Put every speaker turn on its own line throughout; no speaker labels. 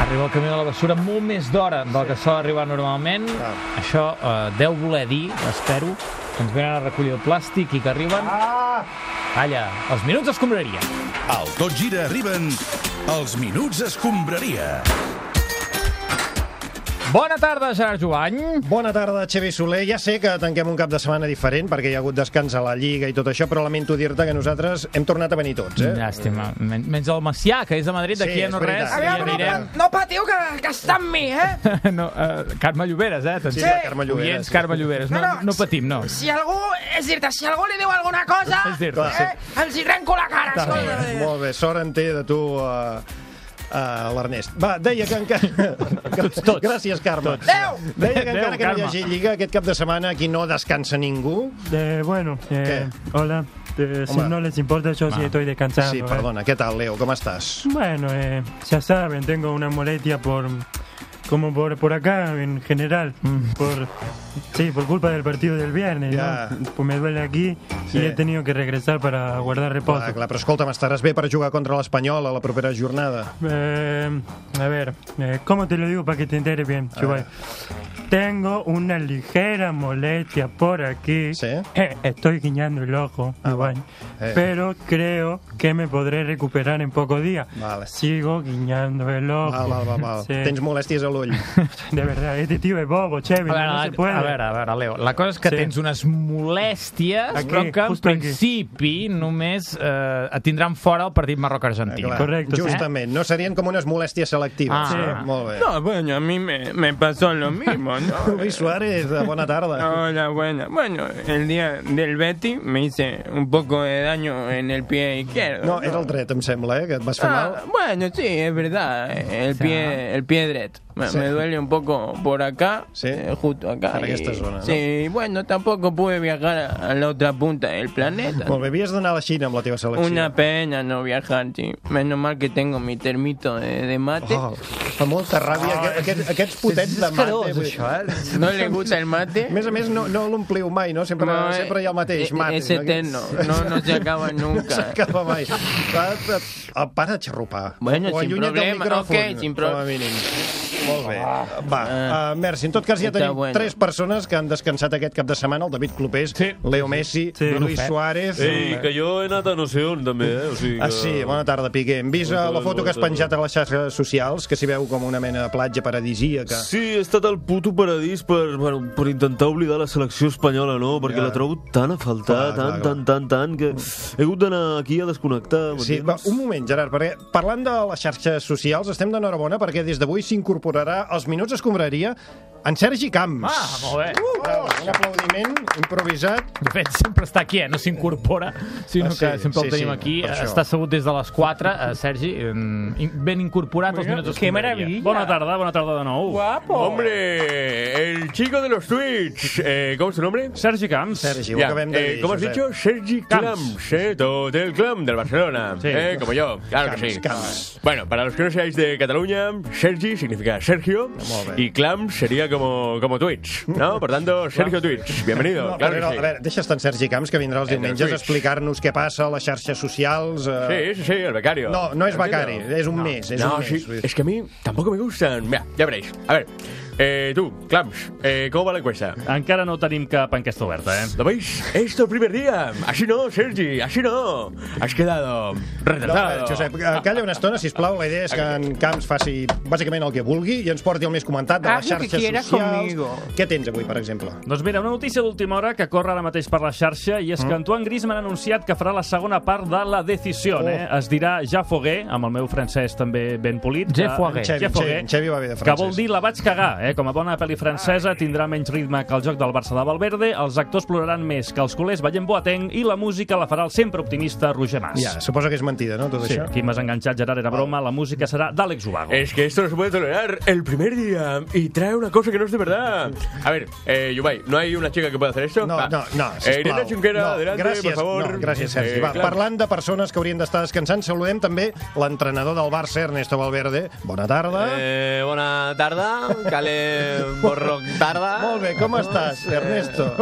arribar al camió de la bessura molt més d'hora del que sol arribar normalment.
Clar.
Això eh, deu voler dir, espero, que ens venen a recollir el plàstic i que arriben...
Ah!
Calla, els minuts escombraria.
Al Tot Gira arriben els Minuts Escombraria.
Bona tarda, Gerard Joany.
Bona tarda, Xevi Soler. Ja sé que tanquem un cap de setmana diferent perquè hi ha hagut descans a la Lliga i tot això, però lamento dir-te que nosaltres hem tornat a venir tots, eh?
Llàstima. Men menys el Macià, que és de Madrid,
Sí,
d'aquí a no
és veritat.
res.
Aviam,
ja
no
anirem.
No patiu, que, que està amb mi, eh?
No, eh, Carme Lloberes, eh?
Sí,
Atenció.
la Carme Lloberes.
Oients, Carme Lloberes. No,
No, no,
no patim, no.
Si algú, és dir-te, si algú li diu alguna cosa,
És dir-te.
eh, els hi trenco la cara.
Està bé,
escolta.
Molt bé, sort en té de tu... Uh... Uh, l'Ernest. Va, deia que encara... Tots,
tots.
Gràcies, Carme. Tots.
Adéu!
Deia que
Adéu,
encara que no hi
Carme.
hagi Lliga, aquest cap de setmana aquí no descansa ningú.
Eh, bueno, eh, hola. Eh, si
Hola.
no les importa, yo sí estoy descansando.
Ah.
eh.
Sí, perdona. Què tal, Leo? Com estàs?
Bueno, eh, ya saben, tengo una molestia por. como por, por acá en general. por Sí, por culpa del partido del viernes.
Mm. Ya.
¿no? Pues me duele aquí
Sí.
y he tenido que regresar para guardar reposo.
Clar, clar, però escolta'm, estaràs bé per jugar contra l'Espanyol a la propera jornada.
Eh, a ver, eh, ¿cómo te lo digo para que te enteres bien, Chubay? Tengo una ligera molestia por aquí.
Sí.
Eh, estoy guiñando el ojo,
Ah,
Chubay.
Eh.
Pero creo que me podré recuperar en pocos días.
Vale.
Sigo guiñando el ojo.
Val, val, val, val.
Oh. Sí.
Tens molèsties a l'ull.
De verdad, este tío es bobo,
A
chévere.
veure,
no se puede.
a veure, a veure, Leo, la cosa és que
Sí.
tens unes molèsties,
Aquí,
però que en
justo aquí.
principi només eh, et tindran fora el partit Marroc-Argentina.
Ah, Clar,
Correcte, sí.
Justament, no serien com unes molèsties selectives.
Ah.
no? Molt bé.
No, bueno, a mí me, me pasó lo mismo, ¿no?
Luis Suárez, bona tarda.
Hola, bueno, bueno, el día del Betty me hice un poco de daño en el pie izquierdo.
No, era el dret, em sembla, eh, que et vas fer mal.
Ah, bueno, sí, es verdad, eh. el pie, el pie derecho. Me,
Sí.
me duele un poco por acá,
Sí.
eh, justo acá.
Para esta zona, ¿no?
Sí, bueno, tampoco pude viajar a, a la otra punta del
eh,
planeta.
Molt bé, havies d'anar a la Xina amb la teva selecció.
Una pena no viajar, sí. Menos mal que tengo mi termito de, de mate. Ah,
Oh, fa molta ràbia. Oh, aquest, aquests potets de mate. vull dir.
eh?
No le gusta el mate.
A més a més, no, no l'ompliu mai, no? Sempre,
No,
sempre hi ha el mateix
eh,
mate.
és eterno, no- no s'acaba nunca.
No s'acaba mai. Va, va, va, para de Ah, xerrupar.
Bueno,
o
sin
allunya't del
problema,
micròfon,
ok, sin pro-
com a mínim. Molt bé. Va,
Ah.
uh, merci. En tot cas, ja
Está
tenim
bueno.
tres persones que han descansat aquest cap de setmana. El David Clopés,
Sí.
Leo Messi,
Sí.
Luis Suárez...
Ei, que jo he anat a no sé on, també, eh? O sigui que...
Ah, sí, bona tarda, Piqué. Hem vist
Bona
eh, la
tarda,
foto que has
bona
penjat a les xarxes socials, que s'hi veu com una mena de platja paradisíaca.
Sí, he estat al puto paradís per, bueno, per intentar oblidar la selecció espanyola, no? Perquè
Ja.
la trobo tan a faltar,
Clar, clar,
tant, tant, tant, tant, que he hagut d'anar aquí a desconnectar.
Sí, va,
m'entens?
un moment, Gerard, perquè parlant de les xarxes socials, estem d'enhorabona perquè des d'avui s'incorporarà als Minuts Escombraria en Sergi Camps.
Ah, molt bé.
Uh! Bravo, un aplaudiment improvisat.
De fet, sempre està aquí, eh? no s'incorpora, sinó
Ah,
ah, sí,
sí,
que sempre
sí,
el tenim
sí,
aquí. Eh,
per això.
Està assegut des de les 4, eh, Sergi, mm, in- ben incorporat als minuts
que
d'escombraria.
maravilla.
Bona tarda, bona tarda de nou.
Guapo.
Hombre, el chico de los Twitch, eh, ¿cómo es su nombre?
Sergi Camps.
Sergi, ho
Ya,
acabem de
eh,
dir.
¿Cómo has
Josep.
dicho? Sergi Clams, ¿eh? Todo el clam del Barcelona.
Sí.
Eh, como yo, claro que sí.
Camps.
Bueno, para los que no seáis de Cataluña, Sergi significa Sergio
Molt bé.
y Clams sería como, como Twitch, ¿no? Por tanto, Sergio Twitch, bienvenido.
No,
claro que
però,
sí.
a veure, deixa't en Sergi Camps, que vindrà els
Entre
diumenges a
tuits.
explicar-nos què passa a les xarxes socials. Eh...
Sí, sí, sí, el becario.
No, no és becari,
Entiendo.
és un mes. És
no,
un mes.
sí,
vull dir.
es que a mí tampoco me gustan. Mira, ya veréis. A ver, eh, tú, Clams, eh, ¿cómo va la encuesta?
Encara no tenim cap enquesta oberta, eh?
¿Lo veis? Esto el primer día. Así no, Sergi, así no. Has quedado
No, a veure,
retratado.
Josep, eh, calla una estona, si plau. La idea és que en Camps faci bàsicament el que vulgui i ens porti el més comentat de
Haz
les
lo que
xarxes
quieras
socials.
conmigo.
Què tens avui, per exemple?
Doncs mira, una notícia d'última hora que corre ara mateix per la xarxa i és
Mm.
que Antoine Griezmann ha anunciat que farà la segona part de la decisió.
Oh.
Eh? Es dirà Ja Fogué, amb el meu francès també ben polit. Eh,
Je
que-
Fogué.
Xevi,
Je Fogué.
Xevi, Xevi va bé de
Que
francès.
vol dir la vaig cagar, eh? Com a bona pel·li francesa tindrà menys ritme que el joc del Barça de Valverde, els actors ploraran més que els culers veient Boateng i la música la farà el sempre optimista Roger Mas.
Ja, suposo que és mentida, no, tot
Sí,
això?
aquí m'has enganxat, Gerard, era broma, la música serà d'Àlex Ubago.
Es que esto no se puede tolerar el primer día y trae una cosa que no es de verdad. A ver, eh, Yubay, ¿no hay una chica que pueda hacer esto?
No,
Va.
no, no,
Eh,
sisplau.
Irene Junquera,
no,
adelante,
gràcies,
por favor.
No, gràcies, Sergi.
Eh,
Va,
Clams.
parlant de persones que haurien d'estar descansant, saludem també l'entrenador del Barça, Ernesto Valverde. Bona tarda.
Eh, bona tarda, Cale eh, Borroc tarda. Eh,
Molt bé, com estàs, Ernesto?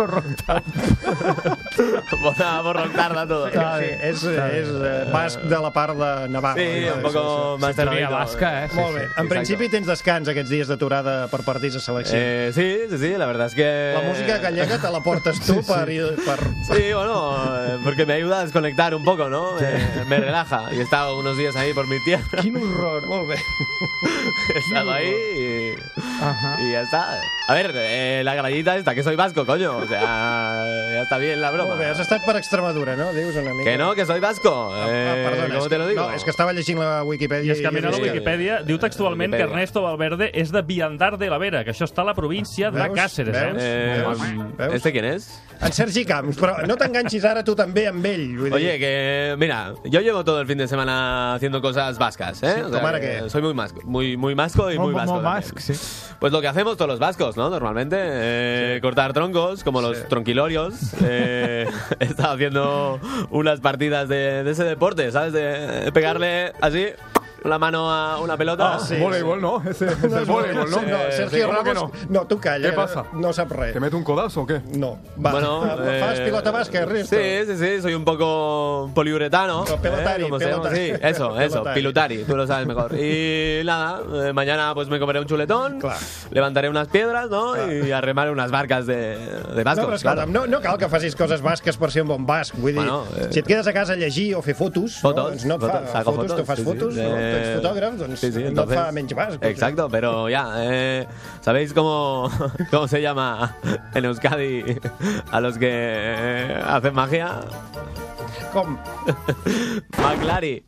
Bona Borroc tarda a todos.
Està bé, és, és eh, basc de la part de Navarra.
Sí,
Vale,
un poco más
Teoria
tranquilo.
basca, eh? Sí,
Molt bé.
sí.
En principi tens descans aquests dies d'aturada per partits de selecció.
Eh, sí, sí, sí, la verdad es que...
La música gallega te la portes tu per... per...
Sí, bueno, eh, porque me ayuda a desconectar un poco, ¿no? Eh, me relaja. Y he estado unos días ahí por mi tierra.
Quin horror, molt bé.
He estado ahí y, y ya está. A ver, eh, la gallita esta, que soy vasco, coño. O sea, ya está bien la broma.
Molt bé, has estat per Extremadura, no? Dius una mica.
Que no, que soy vasco.
Ah,
Eh,
perdona,
¿Cómo
és
te
que-
lo digo?
No, és que estava llegint la Wikipedia.
I és que mira la
Sí.
Wikipedia, diu textualment que
Wikipedia.
Ernesto Valverde és de Viandar de la Vera, que això està a la província de
Veus?
Càceres,
Veus?
eh?
Eh,
Veus?
mm,
Veus?
¿Este quién es?
En Sergi Camps, però no t'enganxis ara tu també amb ell. Vull dir.
Oye, que mira, yo llevo todo el fin de semana haciendo cosas vascas, ¿eh?
Sí,
O sea,
¿tomara
que
qué?
Soy muy vasco, muy, muy vasco y muy, vasco. también. Pues lo que hacemos todos los vascos, ¿no? Normalmente, eh, cortar troncos, como los tronquilorios. Eh, he estado haciendo unas partidas de, de ese deporte, ¿sabes? De pegarle así la mano a una pelota.
Ah, sí.
Voleibol, ¿no? Ese es el voleibol, ¿no?
Sí, no, Sergio
sí, ¿cómo que
Ramos...
no?
no, tu calla.
Què passa?
No sap res.
¿Te meto un codazo o qué?
No, va.
Bueno,
eh... Fas
eh,
pilota basca, Ernesto.
Sí, sí, sí, soy un poco poliuretano.
No, pelotari,
¿Cómo se llama?
pelotari.
Sí, eso, eso,
Pelotari.
pilotari, tú lo sabes mejor. Y nada, eh, mañana pues me comeré un chuletón,
Claro.
levantaré unas piedras, ¿no? Y arremaré unas barcas de, de vascos.
No, però
doncs, claro.
escolta'm, no, no cal que facis coses basques per ser un bon basc. Vull dir,
Bueno, eh,
si et quedes a casa a llegir o fer fotos,
Fotos,
no, doncs no et
fotos,
fa
saco
fotos, tu
fotos,
fas
sí, sí,
fotos,
de-
no tu ets fotògraf, doncs
Sí, sí,
no et
entonces-
fa menys basc.
Exacto, pero ya, eh, ¿sabéis cómo, cómo se llama en Euskadi a los que eh, hacen magia?
Com?
McLary.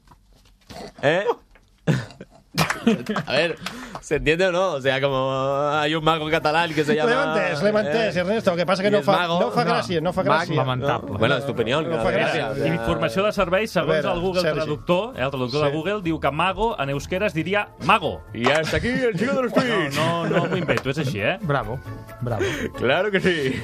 ¿Eh? A ver, ¿se entiende o no? O sea, como hay un mago catalán que se llama...
L'hem entès, l'hem entès,
eh,
Ernesto, el que passa
i
que no
és
fa,
mago.
no fa
No.
gràcia, no fa
Mag-
gràcia.
no.
Lamentable.
Bueno, és tu opinió.
No
que la
fa gràcia.
o sea,
Informació de serveis, segons
A veure,
el Google
Sergi.
Traductor, eh, el traductor
Sí.
de Google, diu que mago en euskera es diria mago.
Y hasta aquí el chico de los tweets.
No, no m'ho invento, és així, eh?
Bravo, bravo.
Claro que sí.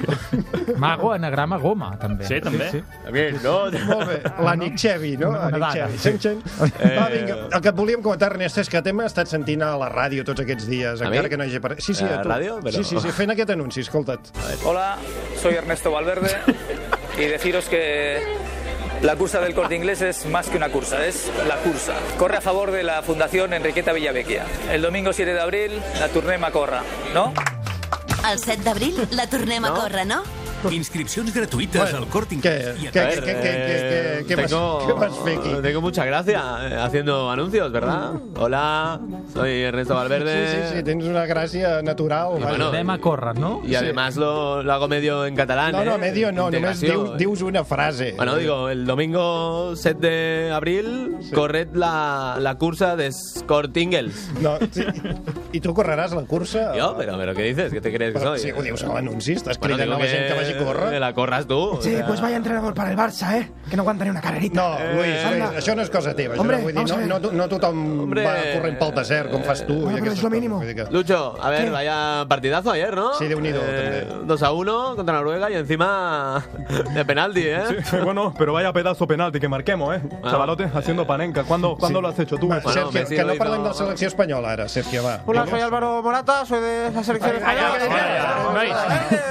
Mago, anagrama, goma, també.
Sí, també.
También, ¿no?
Molt bé, l'Anic Chevi, no?
Una
Anic
dada.
Chevi. Xen, xen.
Eh.
Va, vinga, el que et volíem comentar, Ernest, és que t'hem estat sentint a la ràdio tots aquests dies,
A
encara
mi?
que no hagi aparegut. Sí, sí,
A la
a tu.
ràdio? Però-
Sí, sí, sí, fent aquest anunci, escolta't.
Hola, soy Ernesto Valverde y deciros que la cursa del corte inglés es más que una cursa, es la cursa. Corre a favor de la Fundación Enriqueta Villavecchia. El domingo 7 de abril, la turné Macorra, ¿no?
El 7 d'abril la tornem a córrer, no?
Inscripcions gratuïtes bueno, al Corting.
Què, què,
A
què,
ver,
què, què, què, què,
eh,
què, vas,
tengo-
què vas fer aquí?
Tengo mucha gracia eh, haciendo anuncios, ¿verdad? Hola, soy Ernesto
Sí,
Valverde.
sí, sí, tens una gràcia natural. vaja.
bueno,
Anem a córrer, no?
Y además lo, lo hago medio en catalán.
No, no,
¿eh?
medio no, només
Integració. eh?
dius, dius una frase.
Bueno, digo, el domingo 7 de abril corred la, la cursa de Scortingles.
No, sí. I tu correràs la cursa?
Yo, pero, pero ¿qué dices? ¿Qué te crees que
Però,
soy?
sí, ho dius a l'anunci, estàs
Bueno,
cridant
digo
a la gent que vagi a
me
córrer.
la corras tú. o
Sí,
sea.
pues vaya entrenador para el Barça, ¿eh? Que no aguanta ni una carrerita.
No, Luis, Luis,
Anda.
això no és cosa teva.
Hombre,
Hombre, vull dir,
vamos
no,
a ver.
no, to- no tothom
Hombre.
va corrent pel desert, com fas tu.
Bueno,
i
però
aquestes
és lo
coses,
mínimo.
vull dir que-
Lucho, a ver, vaya partidazo ayer, ¿no?
Sí, de unido, también.
2 a 1 contra Noruega y encima de penalti, ¿eh?
bueno, pero vaya pedazo penalti que marquemos, ¿eh?
Ah.
Chavalote, haciendo panenca. ¿Cuándo, ¿cuándo lo has hecho tú?
Va,
eso?
Sergio,
Messi
que
lo
no
hizo-
parlem de la selecció espanyola ara, Sergio, va.
Álvaro Morata, soy de la selección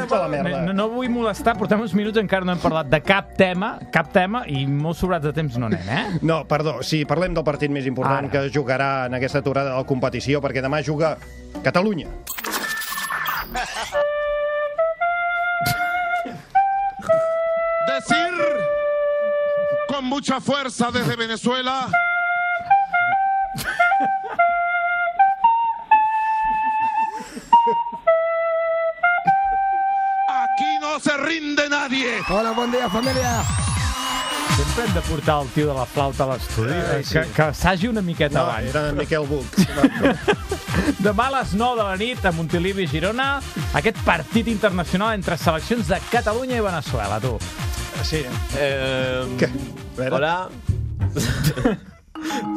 Tota la merda.
No, no vull molestar, portem uns minuts encara no hem parlat de cap tema, cap tema, i molt sobrats de temps no anem, eh?
No, perdó, si parlem del partit més important
Ara.
que es jugarà en aquesta aturada de la competició, perquè demà juga Catalunya.
Decir con mucha fuerza desde Venezuela. Aquí no se rinde nadie.
Hola, buen día, familia.
Sempre hem de portar el tio de la flauta a l'estudi, eh, que, que s'hagi una miqueta
No,
abans.
era en Miquel Buch.
Demà a les 9 de la nit a Montilivi, Girona, aquest partit internacional entre seleccions de Catalunya i Venezuela, tu.
Sí.
Eh,
Que- A veure.
Hola.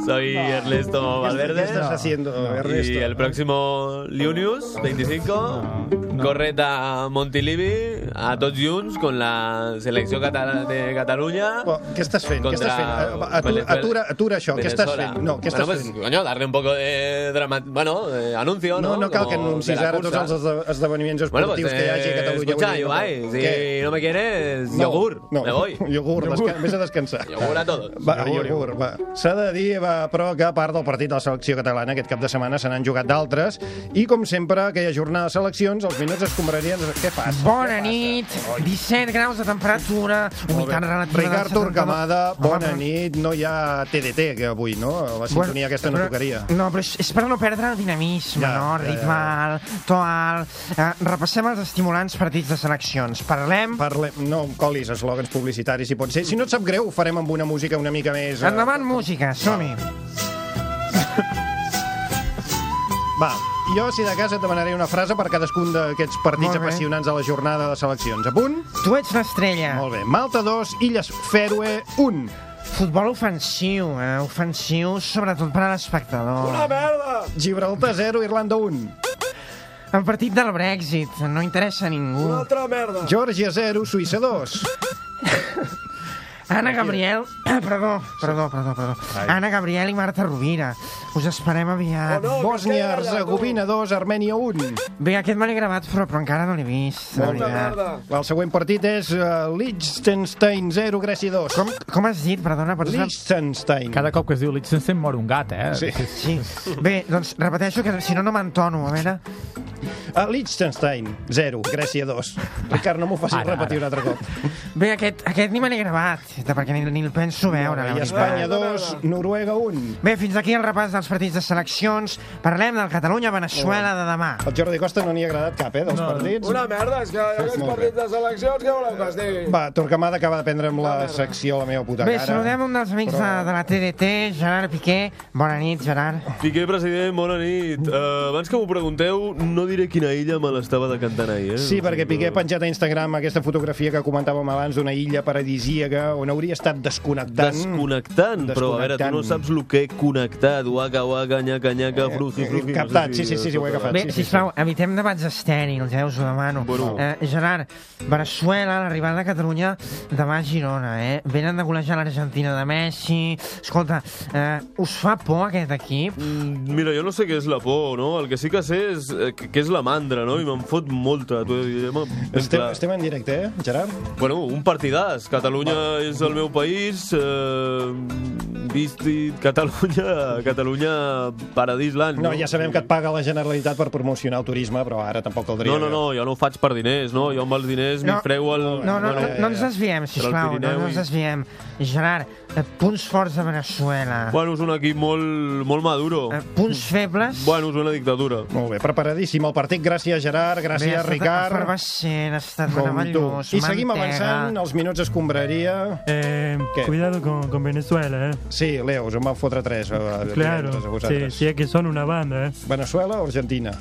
Soy Ernesto Valverde.
Ah. ¿Qué estás haciendo, Ernesto?
Y el próximo Liunius,
Ah.
25, Correta Montilivi, a tots junts con la selecció catalana de Catalunya.
Què estàs fent? Què estàs fent? A- a- Atura, atura, atura això. Què estàs fent? No, què estàs
bueno, pues,
fent?
Coño, darle un poco de drama... Bueno, de anuncio, ¿no?
No, no cal que
Como
anuncis
de la
ara tots
cursa.
els esde- esdeveniments esportius
Bueno, pues,
que hi hagi a
eh,
Catalunya.
escucha,
Vull dir,
Ibai, si
Què?
no me quieres,
No,
yogur,
no.
me voy.
Yogur, desca- vés a descansar.
Yogur a todos.
Va, iogurt, va. S'ha de dir, va, però, que a part del partit de la selecció catalana aquest cap de setmana se n'han jugat d'altres i, com sempre, aquella jornada de seleccions, els minuts es combrarien... Què fas?
Bona nit, 17 graus de temperatura, humitat relativa...
Ricard Torquemada, bona nit. No hi ha TDT que avui, no? La sintonia aquesta no
però-
tocaria.
No, però és, és per no perdre el dinamisme,
Ja,
ja, no?
ja, ja.
Ritme alt, to alt... Eh, repassem els estimulants partits de seleccions. Doncs Parlem...
Parlem... No em colis eslògans publicitaris, si pot ser. Si no et sap greu, ho farem amb una música una mica més... eh,
Endavant, música, som-hi.
Va, jo, si de casa, et demanaré una frase per cadascun d'aquests partits
Molt bé.
apassionants de la jornada de seleccions. A punt?
Tu ets l'estrella.
Molt bé. Malta 2, Illes Fèroe 1.
Futbol ofensiu, eh? Ofensiu, sobretot per a l'espectador.
merda! Gibraltar 0, Irlanda 1.
El partit del Brexit, no interessa a ningú.
merda! Geòrgia 0, Suïssa 2.
Anna Gabriel... perdó, perdó, perdó, perdó. Anna Gabriel i Marta Rovira. Us esperem
Oh,
aviat.
Ah, Bòsnia, Herzegovina 2, Armènia 1.
Bé, aquest me l'he gravat, però, però encara no l'he vist. de veritat.
El següent partit és uh, Liechtenstein 0, Grècia 2. Com,
com has dit? Perdona, per
Liechtenstein.
Cada cop que es diu Liechtenstein mor un gat, eh?
Sí.
Sí. Bé, doncs repeteixo que si no, no m'entono, a veure.
A Eh, Liechtenstein 0, Grècia 2. Ricard, no m'ho facis
Ara,
repetir un
ara.
altre cop.
Bé, aquest, aquest ni me l'he gravat, de- perquè ni, ni el penso veure. la
I
veritat.
Espanya 2, Noruega 1.
Bé, fins aquí el repàs dels partits de seleccions. Parlem del Catalunya-Venezuela de demà.
El Jordi Costa no n'hi ha agradat cap, eh, dels partits.
Una merda, és que aquests
Molt bé.
partits de seleccions, què voleu que es digui?
Va, Torquemada acaba de prendre amb la secció la meva puta
Bé,
cara.
saludem un dels amics de, de la TDT, Gerard Piqué. Bona nit, Gerard.
Piqué, president, bona nit. Uh, abans que m'ho pregunteu, no diré quina illa me l'estava decantant ahir. Eh?
Sí, perquè Piqué ha penjat a Instagram aquesta fotografia que comentàvem abans d'una illa paradisíaca on hauria estat desconnectant.
Desconnectant, però a veure, tu no saps el que he connectat. Uaca, uaca, nyaca, nyaca, fruji, fruji...
Eh, captat, sí, sí, sí, sí, ho he agafat,
Bé, sisplau, evitem debats estèrils, eh, us ho demano.
Bueno.
Eh, Gerard, Venezuela, l'arribada de Catalunya demà a Girona, eh? Venen de golejar l'Argentina de Messi. Escolta, eh, us fa por aquest equip?
Mm, Mira, jo no sé què és la por, no? El que sí que sé és eh, que, que és la mandra, no? I me'n fot molta, t'ho he de dir. home, ben
Estem,
clar.
estem en directe, eh, Gerard?
Bueno, un partidàs. Catalunya és el meu país. Eh, vist i Catalunya, Catalunya paradisland.
No, ja sabem que et paga la Generalitat per promocionar el turisme, però ara tampoc caldria...
No, no, no, jo no ho faig per diners, no? Jo amb els diners no.
No.
m'hi freu el...
No, no, no, no ens desviem, sisplau, no, no ens desviem. Gerard, eh, punts forts de Venezuela.
Bueno, és un equip molt, molt maduro. Eh,
punts febles.
Bueno, és una dictadura.
Molt bé, preparadíssim el partit. Gràcies, Gerard, gràcies,
Bé, ha estat
Ricard.
Efervescent, ha estat
Com tu.
meravellós.
I seguim
mantega.
avançant, els minuts escombraria...
Eh, cuidado con, con Venezuela, ¿eh?
Sí, Leo, us en van fotre tres. eh,
Claro,
a
sí,
vosaltres.
sí, es que son una banda, ¿eh?
Venezuela o Argentina?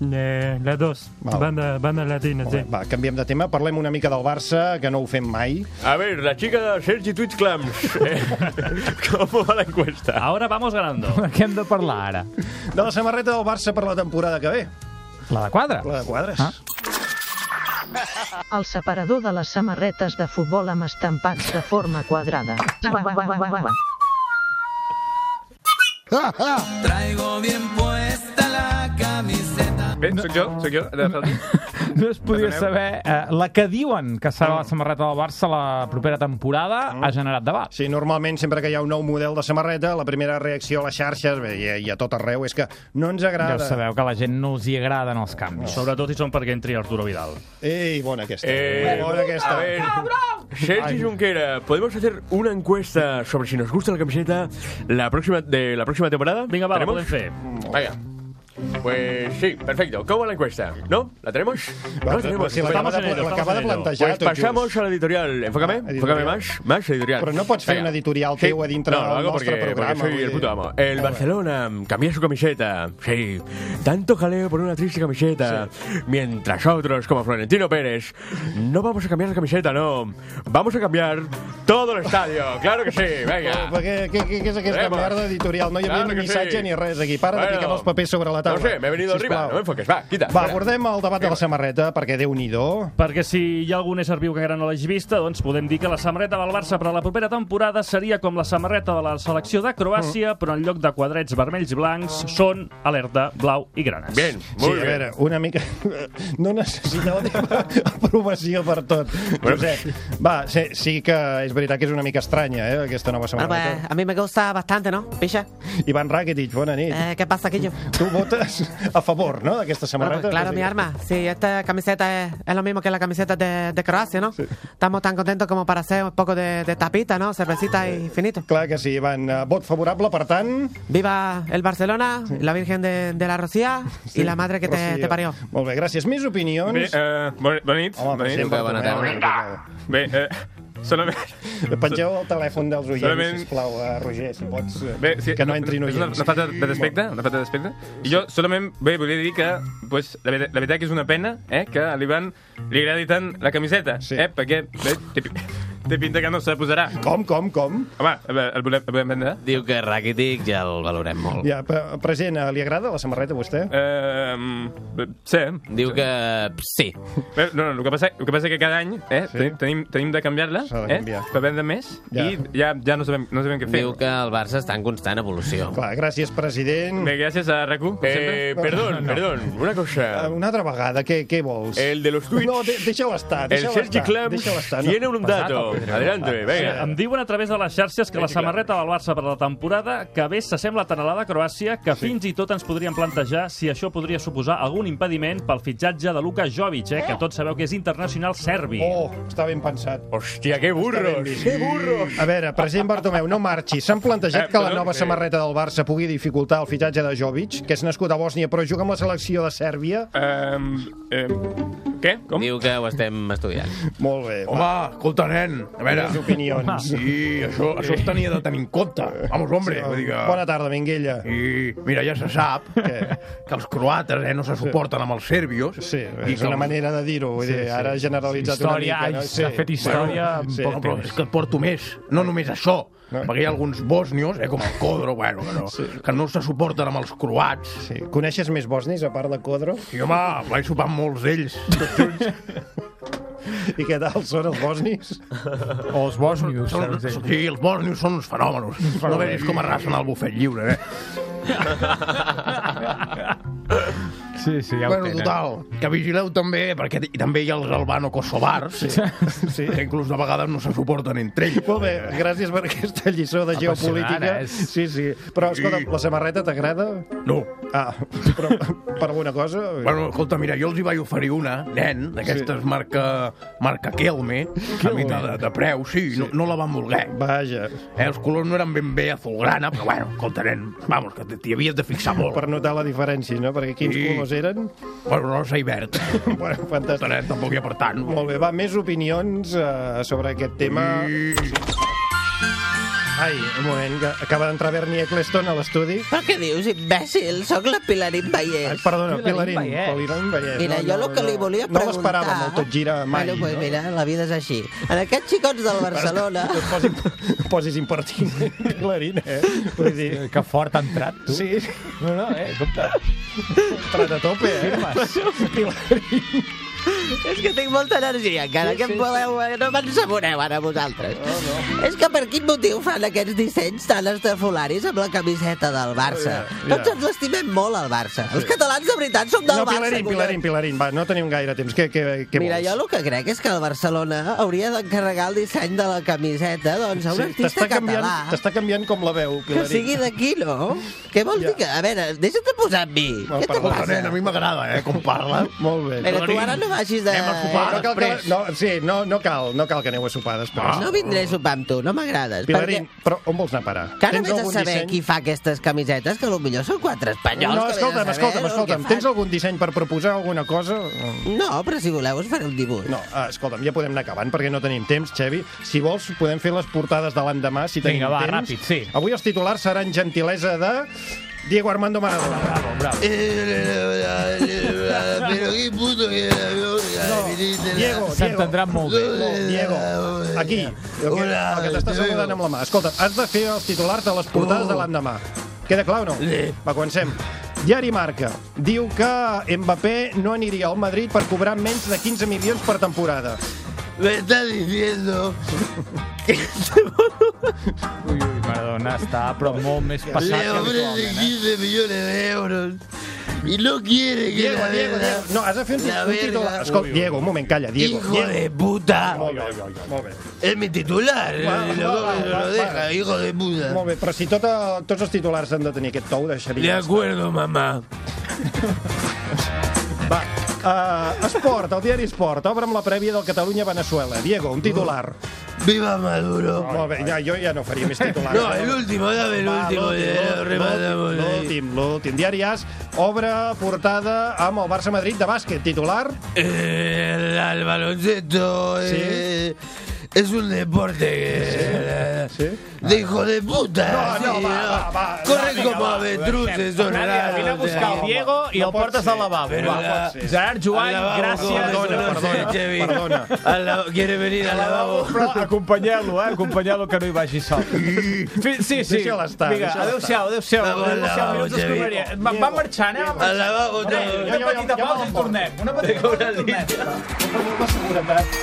Eh, las dos,
Val.
banda, banda latina, sí.
Va, canviem de tema, parlem una mica del Barça, que no ho fem mai.
A ver, la chica de Sergi Twitch Clams. ¿Cómo va la encuesta?
Ahora vamos ganando.
De què hem de parlar ara?
De la samarreta del Barça per la temporada que ve.
La de quadre?
La de quadres.
Ah.
El separador de les samarretes de futbol amb estampats de forma quadrada. Ua, ua, ua, ua, ua.
ah.
Traigo bien puesta la camiseta.
Bé, sóc jo, sóc jo. De fet,
No es podia saber eh, la que diuen que serà la samarreta del Barça la propera temporada ha generat debat.
Mm. Sí, normalment, sempre que hi ha un nou model de samarreta, la primera reacció a les xarxes bé, i a, i a tot arreu és que no ens
Ja
agrada.
ho sabeu, que a la gent no els hi agraden els canvis.
Sobretot si són perquè entri Arturo Vidal.
Ei, bona aquesta.
Eh,
bona aquesta.
a ver, Sergi Junquera, ¿podemos hacer una encuesta sobre si nos gusta la camiseta la próxima, de la próxima temporada? Venga,
va, la podem fer.
Venga.
Pues sí, perfecto. ¿Cómo la encuesta? ¿No? ¿La tenemos? No
pero si la acaba
Estamos
de-
en ello,
la acaba
estamos
de
en ello.
plantejar,
Pues
tot just.
pasamos a la editorial. Enfócame,
Ah,
enfócame
editorial.
más, más editorial.
Però no pots fer
Venga.
una editorial teua dintre
no, lo
del
hago
nostre
porque,
programa,
porque soy
vull
el
dir.
puto amo. Eh, El
Ah,
Barcelona cambia su camiseta. Sí. Tanto jaleo por una triste camiseta. Mientras otros, como Florentino Pérez, no vamos a cambiar la camiseta, no. Vamos a cambiar todo el estadio. Claro que sí, venga.
Però Què, què, què, què és aquesta
Vamos.
merda editorial? No hi havia
Claro
ni
que
missatge
sí.
ni res aquí. Para
Bueno,
de picar els papers sobre la taula.
No sé, me he venido arriba.
sisplau.
No me enfoques, va, quita.
Va,
fuera.
abordem el debat de la samarreta, perquè Déu-n'hi-do.
Perquè si hi ha algun ésser viu que encara no l'hagi vista, doncs podem dir que la samarreta del Barça per a la propera temporada seria com la samarreta de la selecció de
Mm.
Croàcia, però en lloc de quadrets vermells i blancs són alerta, blau i granes.
Bien,
Sí, a veure, una mica... No necessita la teva aprovació per tot. Josep, va, sí, sí que és veritat que és una mica estranya, eh, aquesta nova
Ah, pues,
samarreta.
a mí me gusta bastante, ¿no? Picha.
Ivan Rakitic, bona nit.
Eh, ¿Qué pasa, Quillo?
Tu votes a favor, no?, d'aquesta
Bueno,
samarreta.
pues, claro, mi arma. Sí, esta camiseta es, es lo mismo que la camiseta de, de Croacia, ¿no? Estamos tan contentos como para hacer un poco de, de tapita, ¿no? Cervecita y finito.
Clar Eh, que sí, Ivan. Eh, Vot favorable, per tant...
Viva el Barcelona, la Virgen de, de la Rocía y la madre que te,
Rocío.
te parió.
Molt bé, gràcies. Més opinions?
Bé,
eh,
bon, bona nit.
Home,
Bona nit.
sempre
Bona
Tomeu,
tarda.
complicada.
Bé, eh, solament...
Pengeu el telèfon dels oients,
Mm. Solament-
sisplau, a Roger, si pots, eh,
Bé, sí,
que no entrin
és
oients.
una, una falta de respecte, una falta de respecte. I jo solament bé, volia dir que pues, la, veritat, la veritat que és una pena eh, que a l'Ivan li agradi tant la camiseta, sí. eh, perquè bé, té, pi- té pinta que no se la posarà.
Com, com, com?
Home, a veure, el volem, el volem vendre?
Diu que Rakitic ja el valorem molt.
Ja, pre- present, eh, li agrada la samarreta a vostè?
Eh, sí.
Diu que sí.
Bé, no, no, el que passa, el que, passa que cada any eh,
Sí.
tenim, tenim, tenim de canviar-la
S'ha de
eh,
canviar.
per vendre més
Ja.
i ja, ja no, sabem, no sabem què fer.
Diu que el Barça està en constant evolució.
Clar, gràcies, president.
Bé, gràcies a RAC1. com
Mm. Eh,
sempre.
perdón, perdón,
una cosa.
Eh, Una altra vegada, què, què vols?
El de los
tuits.
No, de, deixa-ho estar, deixa-ho estar. deixa-ho estar, no.
Em diuen a través de les xarxes que la samarreta del Barça per a la temporada que ve s'assembla tant a la de Croàcia que fins i tot ens podríem plantejar si això podria suposar algun impediment pel fitxatge de Luka Jovic, eh, que tots sabeu que és internacional serbi.
Oh, està ben pensat.
Hòstia, que
burros, que burros. A veure, president Bartomeu, no marxi. S'han plantejat
Eh,
que la
perdó,
nova
eh.
samarreta del Barça pugui dificultar el fitxatge de Jovic, que és nascut a Bòsnia però juga amb la selecció de Sèrbia?
Um, um, què? Com?
Diu que ho estem estudiant.
Molt bé.
Home, escolta, nen, a veure...
Més opinions.
Sí, això, això es tenia de tenir en compte. Vamos, hombre.
Sí,
vull dir que...
Bona tarda, Minguella.
I, mira, ja se sap que els croates eh, no se suporten amb els sèrbios. Sí,
és una manera de dir-ho, vull dir, ara ha generalitzat una mica, no? Sí.
Bueno,
Bueno,
sí.
sí.
Bueno, però és que et porto més, no només això, no. perquè hi ha alguns bòsnios, eh, com el Codro, bueno, que no, sí. que no se suporten amb els croats.
Sí. Coneixes més bòsnics, a part de Codro?
I, home, vaig sopar amb molts d'ells, tots junts.
I què tal són els bòsnics?
O els bòsnios. Són, són, sí, els bòsnios són uns fenòmenos. No veus com arrasen el bufet lliure, eh?
Sí, sí, ja ho
bueno,
tenen.
total, que vigileu també, perquè hi- també hi ha els albano-kosovars, sí. sí. que inclús de vegades no se suporten entre ells.
Molt bé, gràcies per aquesta lliçó de geopolítica.
Apassionant, eh?
Sí, sí. Però, escolta, la samarreta t'agrada?
No.
Ah, però per alguna cosa...
Bueno, escolta, mira, jo els hi vaig oferir una, nen, d'aquestes sí. marca, marca Kelme, a mitjà de, de preu, sí, sí. No, no la van voler.
Vaja.
Eh, els colors no eren ben bé azulgrana, però bueno, escolta, nen, vamos, que t'hi havies de fixar molt.
Per notar la diferència, no? Perquè quins colors eren?
Bueno, rosa i verd.
bueno, fantàstic.
Escolta, nen, tampoc hi ha per tant.
Molt bé, va, més opinions eh, sobre aquest tema. Ai, un moment, que acaba d'entrar Bernie Eccleston a l'estudi.
Però Ah, què dius, imbècil? Sóc la Pilarín Vallès. Ai,
perdona, Pilarín, Pilarín Vallès.
Mira,
No,
jo
no,
el que li
no.
volia
No
preguntar...
l'esperàvem, el tot gira mai,
Bueno, pues
no?
mira, la vida és així. En aquests xicots del Barcelona...
No posis impertinent, Pilarín, eh? Vull dir...
Que fort ha entrat, tu.
Sí.
No, no, eh, compte.
Entrat a tope,
eh?
eh?
És que tinc molta energia encara,
Sí,
sí, que
sí,
em voleu, eh, no me'n saboreu ara vosaltres. No, no. És que per quin motiu fan aquests dissenys tan estrafolaris amb la camiseta del Barça?
Oh, Ja,
Yeah,
ja.
yeah. Tots ens l'estimem molt, al Barça. Sí. Els catalans de veritat som del
No,
Barça.
Pilarín,
collons.
Pilarín, Pilarín, va, no tenim gaire temps. Què, què, què
Mira,
vols?
jo el que crec és que el Barcelona hauria d'encarregar el disseny de la camiseta doncs, a un sí, artista
t'està canviant,
català
T'està canviant com la veu,
que
Pilarín.
sigui d'aquí, no? Què vols dir? Que, a veure, deixa't de posar amb mi. Què te
Perdona,
passa?
nen, a mi m'agrada, eh, com parla.
Molt bé.
Mira, tu ara no vagis facis de...
Anem a sopar no cal que, no, sí, no, no, cal, no cal que aneu a sopar després.
No vindré a sopar amb tu, no m'agrades.
Pilarín, però on vols anar a parar?
perquè... Que ara
Tens
vés a
algun
saber
disseny?
qui fa aquestes camisetes, que potser són quatre espanyols.
No,
que vés a
escolta'm,
saber
escolta'm,
el que
escolta'm.
fan.
Tens algun disseny per proposar alguna cosa?
No, però si voleu us faré un dibuix.
No, eh, escolta'm, ja podem anar acabant perquè no tenim temps, Xevi. Si vols, podem fer les portades de l'endemà, si tenim
Vinga, va,
temps.
ràpid, sí.
Avui els titulars seran gentilesa de... Diego Armando Maradona. Bravo, bravo.
Pero qué puto que era, bro.
Diego, S'entendran
molt bé.
Diego, aquí, el que, el que t'està saludant amb la mà. Escolta, has de fer els titulars de les portades
Uh.
de l'endemà. Queda clar o no? Va, comencem. Diari Marca diu que Mbappé no aniria al Madrid per cobrar menys de 15 milions per temporada.
Me está diciendo
Maradona està, però molt més passat
le
que
ofrece
habitualment, eh?
15 millones de euros y no quiere que
Diego,
la
Diego,
verga-
Diego. No, has de fer un,
la
un titular.
verga-
Escolta, Diego, un moment, calla. Diego,
Hijo
Diego.
de puta.
Molt bé, molt bé.
Es mi titular.
Va,
eh,
va,
lo,
va,
lo
va,
deja,
va.
hijo de puta.
Molt bé, però si tot, eh, tots els titulars han de tenir aquest tou, deixaria...
De acuerdo, mamá.
Va, uh, Esport, el diari Esport, obre amb la prèvia del Catalunya-Venezuela. Diego, un titular.
Viva Maduro.
Molt bé, ja, jo ja no faria més titulars. eh?
No, el último, dame el
Va,
último,
l'últim,
eh, lo
l'últim,
rematamos
l'últim,
ahí.
L'últim, l'últim. Diari As, obre portada amb el Barça-Madrid de bàsquet. Titular?
Eh, el, el baloncesto eh, es un deporte que, de hijo de puta.
No, no,
sí,
va,
no.
va, va,
Corren
va,
como
va,
Nadia,
avestruces, son
Vine a
raros,
buscar
eh.
el Diego i
No
el
pot
portes
ser,
al lavabo.
però
Va.
la-
Gerard Joan,
al lavabo,
gràcies.
com es conoce, Chevy. Al lavabo, quiere venir al lavabo.
Però acompanyeu-lo, eh? Acompanyeu-lo que no hi vagi sol. Sí, sí. sí.
Deixa'l estar,
Vinga,
deixa'l
adéu-siau, adéu-siau.
Vamos al
Adéu-siau,
lavabo,
minuts
Xavi.
d'escombraria. Va, va marxant, eh?
Al lavabo,
Una
no.
una petita pausa i tornem. Una petita pausa i tornem.
La seguretat.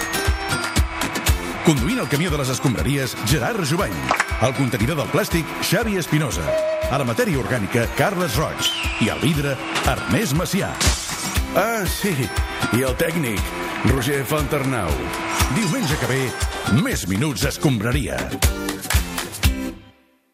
Conduint el camió de les escombraries, Gerard Jubany. El contenidor del plàstic, Xavi Espinosa. A la matèria orgànica, Carles Roig. I al vidre, Ernest Macià. Ah, sí, i el tècnic, Roger Fontarnau. Diumenge que ve, més minuts escombraria.